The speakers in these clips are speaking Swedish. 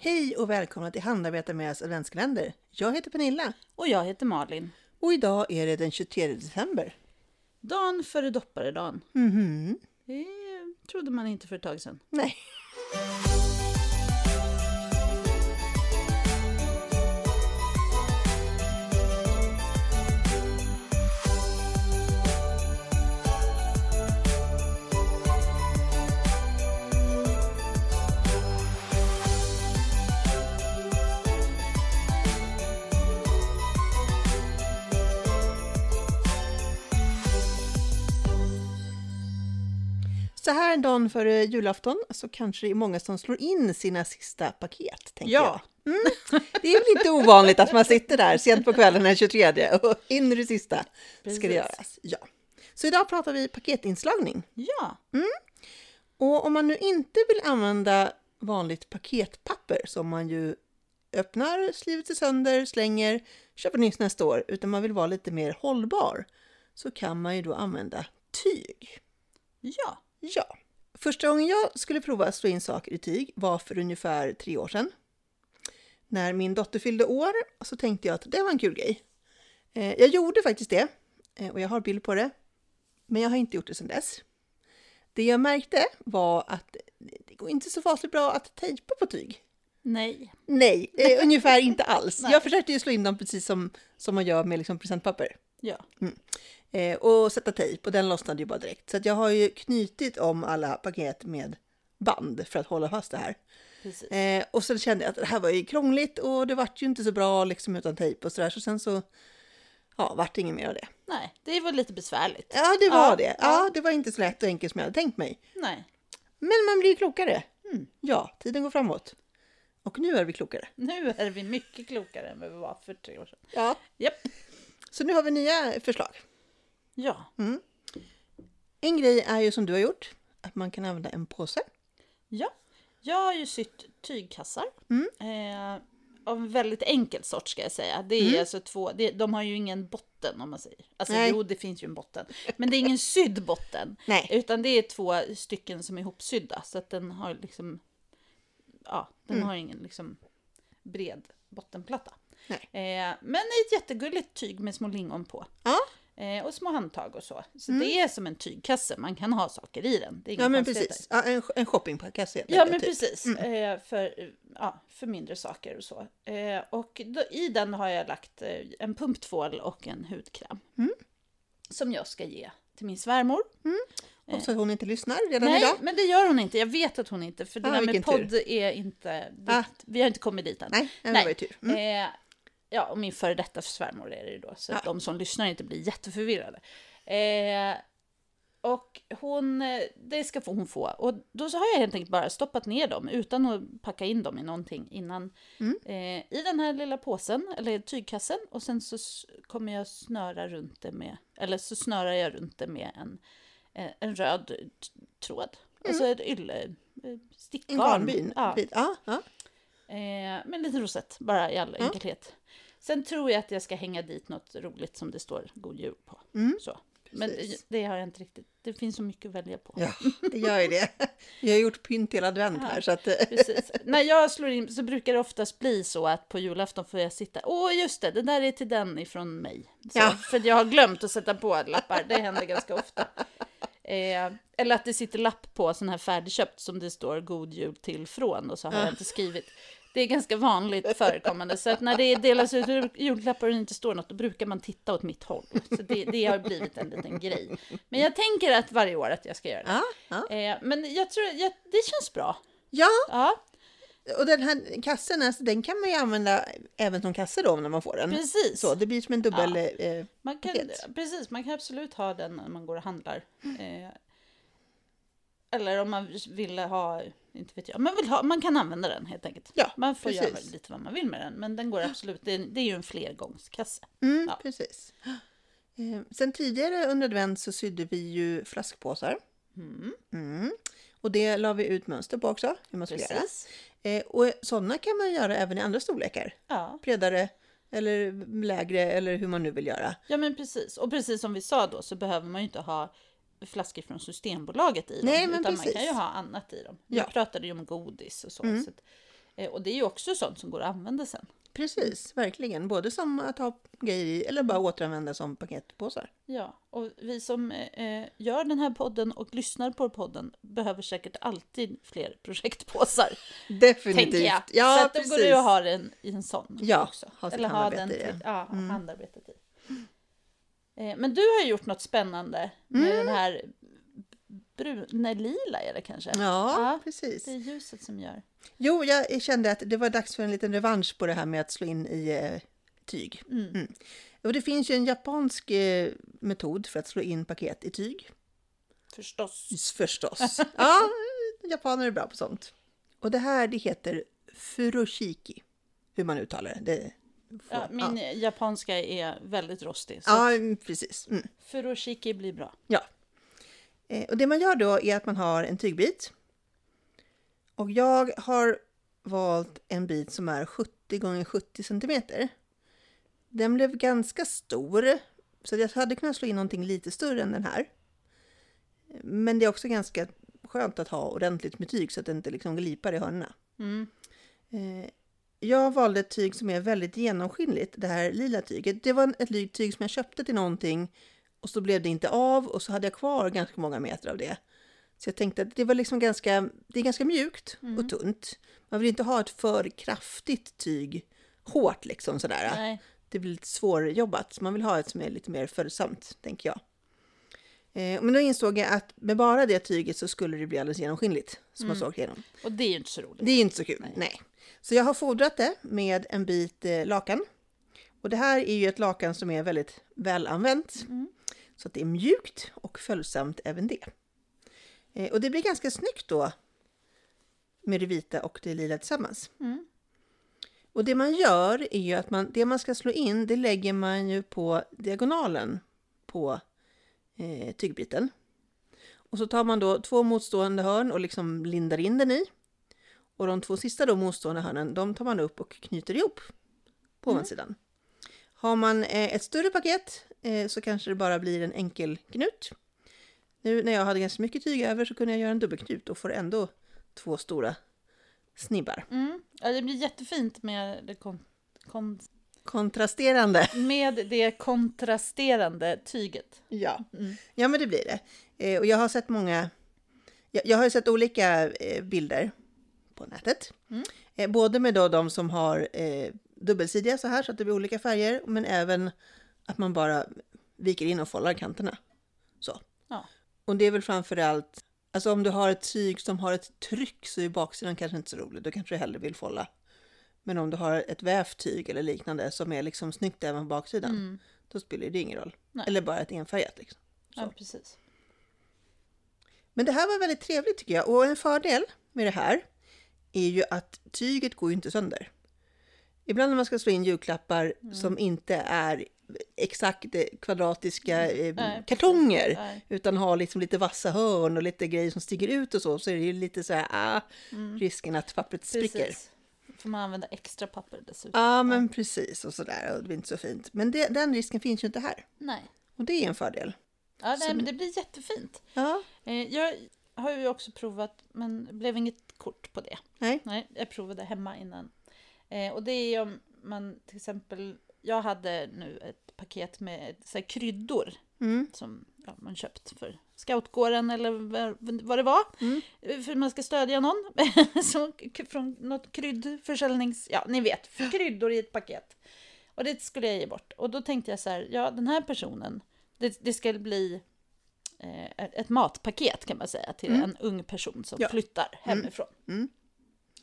Hej och välkomna till Handarbeta med oss adventskalender. Jag heter Pernilla Och jag heter Malin. och idag är det den 23 december. Dan före dopparedagen. Mhm. Det eh, trodde man inte för ett tag sedan. Nej. Så här en dag före julafton så kanske det är många som slår in sina sista paket. Tänker Ja. Jag. Mm. Det är lite ovanligt att man sitter där sent på kvällen den 23 och in i det sista ska Precis. det göras. Ja. Så idag pratar vi paketinslagning. Ja, Och om man nu inte vill använda vanligt paketpapper som man ju öppnar, sliver till sönder, slänger, köper nytt nästa år, utan man vill vara lite mer hållbar, så kan man ju då använda tyg. ja. Ja, första gången jag skulle prova att slå in saker i tyg var för ungefär tre år sedan. När min dotter fyllde år så tänkte jag att det var en kul grej. Eh, Jag gjorde faktiskt det eh, och jag har bild på det. Men jag har inte gjort det sedan dess. Det jag märkte var att det går inte så fasligt bra att tejpa på tyg. Nej. Nej, eh, ungefär inte alls. Nej. Jag försökte ju slå in dem precis som, som man gör med liksom presentpapper. Ja. Eh, och sätta tejp och den lossnade ju bara direkt. Så att jag har ju knutit om alla paket med band för att hålla fast det här. Precis. Eh, och sen kände jag att det här var ju krångligt och det vart ju inte så bra liksom utan tejp och sådär. Så sen så ja, vart det inget mer av det. Nej, det var lite besvärligt. Ja, det var Ja, det. Ja, ja. det var inte så lätt och enkelt som jag hade tänkt mig. Nej. Men man blir ju klokare. Mm. Ja, tiden går framåt. Och nu är vi klokare. Nu är vi mycket klokare än vad vi var för tre år sedan. Ja. Japp. Så nu har vi nya förslag. Ja, En grej är ju som du har gjort, att man kan använda en påse. ja. Jag har ju sytt tygkassar. Mm. Eh, av en väldigt enkel sort ska jag säga. Det är alltså två, det, de har ju ingen botten om man säger. Alltså Mm. Nej. jo, det finns ju en botten. Men det är ingen sydd botten. Nej. Utan det är två stycken som är ihopsydda. Så att den har liksom, ja, den Mm. har ingen liksom bred bottenplatta. Nej. Eh, men i ett jättegulligt tyg med små lingon på. Ja. Eh, och små handtag och så. Så det är som en tygkasse, man kan ha saker i den. Det är inga Mm. Ja men konstigheter. precis, ja, en, en shoppingpåse helt Ja enkelt, men typ. precis, eh, för, eh, ja, för mindre saker och så. Eh, och då, i den har jag lagt eh, en pumptvål och en hudkräm. Mm. Som jag ska ge till min svärmor. Och så att hon inte lyssnar redan Nej, idag. men det gör hon inte. Jag vet att hon inte, för det Ah, här med vilken tur. podd är inte... Dit, Ah. Vi har inte kommit dit än. Nej, men det Nej. var ju tur. Mm. Eh, ja, och min före detta svärmor är det ju då, så att Ja. de som lyssnar inte blir jätteförvirrade. Eh, och hon, eh, det ska få hon få. Och då så har jag helt enkelt bara stoppat ner dem utan att packa in dem i någonting innan. Mm. Eh, I den här lilla påsen, eller tygkassen, och sen så s- kommer jag snöra runt det med, eller så snörar jag runt det med en, eh, en röd t- tråd. Alltså ett ylle, eh, Mm. En stickgarn. garnbyn. Ja. Fint. Ja. Ja. Eh, men lite rosett, bara i all Ja. enkelhet. Sen tror jag att jag ska hänga dit något roligt som det står God Jul på. Mm, Så. Men precis. det, det har jag inte riktigt, det finns så mycket att välja på. ja, det gör ju det. Jag har gjort pynt hela advent här så att... eh, Precis. När jag slår in så brukar det oftast bli så att på julafton får jag sitta, åh just det, det där är till den ifrån mig. Så, Ja. För att jag har glömt att sätta på lappar, det händer ganska ofta. Eh, eller att det sitter lapp på sån här färdigköpt som det står God Jul till från och så har jag inte skrivit. Det är ganska vanligt förekommande, så att när det delas ut jul- julklappar och det inte står något, då brukar man titta åt mitt håll. Så det, det har blivit en liten grej. Men jag tänker att varje år att jag ska göra det. Ja, ja. Eh, men jag tror, jag, det känns bra. ja, Ja. och den här kassen, alltså, den kan man ju använda även som kasse då när man får den. Precis. Så det blir som en dubbel... Ja. Eh, man kan, paket. precis, man kan absolut ha den när man går och handlar. Eh, eller om man vill ha, inte vet jag, man, vill ha, man kan använda den helt enkelt. Ja, man får göra precis. lite vad man vill med den, men den går absolut, det, är- det är ju en flergångskasse. mm, Ja. precis. Eh, sen tidigare under advent så sydde vi ju flaskpåsar. Mm, Mm. Och det la vi ut mönster på också, hur man skulle göra. precis. Eh, och sådana kan man göra även i andra storlekar. Ja. bredare eller lägre eller hur man nu vill göra. ja, men precis. Och precis som vi sa då så behöver man ju inte ha flaskor från Systembolaget i dem, Nej, men utan man precis. kan ju ha annat i dem. Ja. Vi pratade ju om godis och så. Mm. så att, Eh, Och det är ju också sånt som går att använda sen. Precis, verkligen. Både som att ha grejer i eller bara återanvända som paketpåsar. Ja, och vi som eh, gör den här podden och lyssnar på podden behöver säkert alltid fler projektpåsar, Definitivt. tänker jag. Ja, så att precis. då går det att ha den i en sån Ja, också. ha sitt Eller ha den handarbete i Mm. till, det. ja, handarbetet i. Eh, men du har ju gjort något spännande med Mm. den här brun, nej, lila är det kanske? Ja, Ja, precis. Det är ljuset som gör. Jo, jag kände att det var dags för en liten revansch på det här med att slå in i eh, tyg. Mm. Mm. Och det finns ju en japansk eh, metod för att slå in paket i tyg. Förstås. Förstås. ja, japaner är bra på sånt. Och det här det heter furoshiki. Hur man uttalar det. det får, Ja, min ja. japanska är väldigt rostig, så ja, mm, precis. Mm. furoshiki blir bra. Ja. Eh, Och det man gör då är att man har en tygbit. Och jag har valt en bit som är 70 gånger 70 centimeter. Den blev ganska stor, så jag hade kunnat slå in någonting lite större än den här. Men det är också ganska skönt att ha ordentligt med tyg så att det inte liksom glipar i hörnorna. Mm. Eh, Jag valde ett tyg som är väldigt genomskinligt, det här lila tyget. Det var en- ett ly- tyg som jag köpte till någonting och så blev det inte av och så hade jag kvar ganska många meter av det. Så jag tänkte att det var liksom ganska, det är ganska mjukt och tunt. Man vill inte ha ett för kraftigt tyg, hårt liksom sådär. Nej. Det blir lite svårjobbat. så Man vill ha ett som är lite mer följsamt, tänker jag. Eh, Men då insåg jag att med bara det tyget så skulle det bli alldeles genomskinligt. Som man såg igenom. Och det är ju inte så roligt. Det är ju inte så kul. Nej. Så jag har fodrat det med en bit eh, lakan. Och det här är ju ett lakan som är väldigt välanvänt. Så att det är mjukt och följsamt även det. Eh, och det blir ganska snyggt då med det vita och det lila tillsammans. Och det man gör är ju att man, det man ska slå in det lägger man ju på diagonalen på eh, tygbiten. Och så tar man då två motstående hörn och liksom lindar in den i. Och de två sista då motstående hörnen, de tar man upp och knyter ihop på ovansidan. Har man eh, ett större paket eh, så kanske det bara blir en enkel knut. Nu när jag hade ganska mycket tyg över så kunde jag göra en dubbelknut och får ändå två stora snibbar. Mm. Ja, det blir jättefint med det, kon- kon- Kontrasterande. med det kontrasterande tyget. Ja, ja men det blir det. Eh, och jag har sett många, jag, jag har ju sett olika eh, bilder på nätet. Eh, både med då de som har eh, dubbelsidiga så här så att det blir olika färger, men även att man bara viker in och follar kanterna. Så. Ja. Och det är väl framförallt, alltså om du har ett tyg som har ett tryck så är baksidan kanske inte så rolig, då kanske du hellre vill folla. Men om du har ett vävt tyg eller liknande som är liksom snyggt även på baksidan, då spelar det ingen roll. Nej. Eller bara ett enfärgat liksom. Ja, Mm. precis. Men det här var väldigt trevligt tycker jag. Och en fördel med det här är ju att tyget går ju inte sönder. Ibland när man ska slå in julklappar Mm. som inte är exakt eh, kvadratiska eh, Mm. Nej, kartonger Nej. utan har liksom lite vassa hörn och lite grejer som sticker ut och så, så är det ju lite så här, ah, risken att pappret spricker. Mm. Precis. Får man använda extra papper dessutom? Ja, men precis och sådär, och det blir inte så fint. Men det, den risken finns ju inte här, Nej. och det är en fördel. Ja, nej, Som- men det blir jättefint. Ja, Eh, jag har ju också provat, men det blev inget kort på det. nej. Nej, jag provade hemma innan. Eh, och det är om man till exempel, jag hade nu ett paket med så här, kryddor Mm. som ja, man köpt för Scoutgården eller vad- vad det var. Mm. För man ska stödja någon. så, k- från något kryddförsäljnings... Ja, ni vet. Kryddor i ett paket. Och det skulle jag ge bort. Och då tänkte jag så här, ja den här personen, det, det ska bli eh, ett matpaket kan man säga till en ung person som Mm. Ja. flyttar hemifrån. Mm.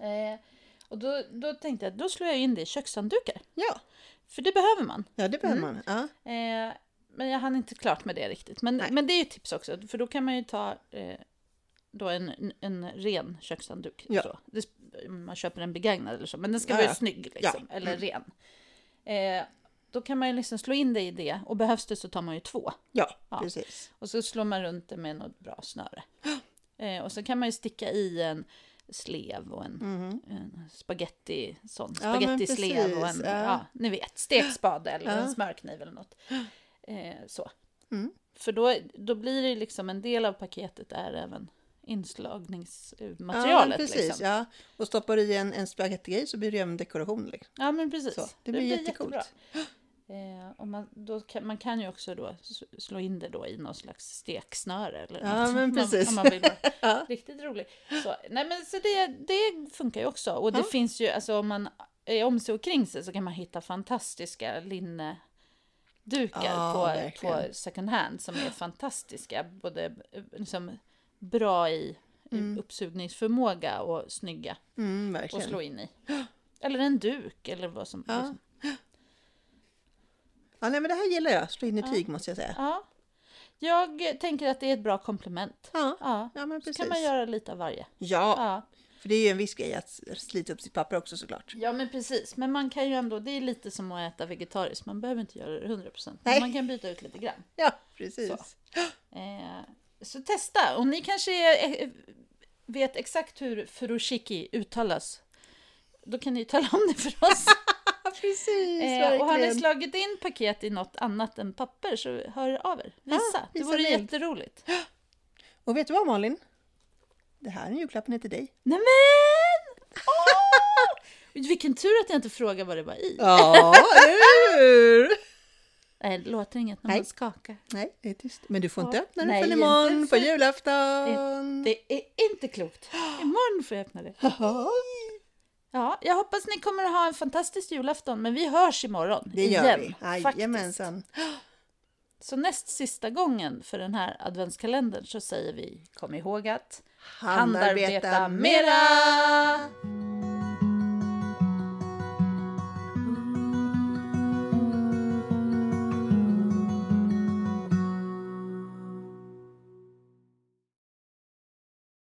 Eh, och då, då tänkte jag, då slår jag in det i kökshanddukar. Ja, För det behöver man. ja, det behöver man. Ja. Eh, men jag hann inte klart med det riktigt. Men, Nej. men det är ju ett tips också, för då kan man ju ta eh, då en, en ren kökshandduk. Ja. Så. Det, sp- man köper en begagnad eller så, men den ska Ja, vara ja. Mm. snygg liksom, eller ren. Eh, då kan man ju liksom slå in det i det, och behövs det så tar man ju två. Ja, Ja. precis. Och så slår man runt det med något bra snöre. Eh, och så kan man ju sticka i en slev och en, Mm-hmm. en spaghetti, sån Ja, men spagettislev och en, precis, ja. ja. ni vet, stekspade eller Ja. en smörkniv eller något. Eh, så. Mm. För då, då blir det liksom en del av paketet är även inslagningsmaterialet. precis. liksom. Ja. Och stoppar du i en, en spagettigrej så blir det ju en dekoration. Liksom. ja, men precis. Så, det, blir jättecoolt. jättebra. Eh, och man, då kan, man kan ju också då s- slå in det då i någon slags steksnöre eller Ja, något, men om man- precis. Om man vill vara Ja. riktigt rolig. Så, nej, men så det, det funkar ju också. Och det Ja. finns ju, alltså om man är om sig och kring sig så kan man hitta fantastiska linnedukar Ja, på, verkligen. på second hand som är fantastiska. Både eh, liksom, bra i Mm. uppsugningsförmåga och snygga Mm, att verkligen. slå in i. Eller en duk eller vad som Ja. liksom. Ja, nej, men det här gillar jag. Slå in i Ja. tyg måste jag säga. Ja. Jag tänker att det är ett bra komplement. Ja, Ja. ja men Så precis. kan man göra lite av varje. Ja, Ja. för det är ju en viss grej att slita upp sitt papper också såklart. ja, men precis. Men man kan ju ändå, det är lite som att äta vegetariskt. Man behöver inte göra det 100%. Men Nej. man kan byta ut lite grann. Ja, precis. Så. Eh, så testa. Och ni kanske eh, vet exakt hur furoshiki uttalas. Då kan ni tala om det för oss. Ja, precis, Eh, och har ni slagit in paket i något annat än papper så hör av er. Visa. Ja, det visa vore bild. jätteroligt. Och vet du vad Malin? Det här är julklappen till dig. Nämen! Åh! Vilken tur att jag inte frågade vad det var i. Ja, eller hur? Nej, det låter inget när Nej. man skakar. Nej, det är tyst. Men du får inte Ja. öppna den Nej, förrän imorgon inte på för- julafton. Det är inte klokt. Imorgon får jag öppna det. Jaha. Ja, jag hoppas ni kommer ha en fantastisk julafton, men vi hörs imorgon. Det gör igen, vi. faktiskt. Jajamensan. Så näst sista gången för den här adventskalendern så säger vi kom ihåg att Handarbeta mera!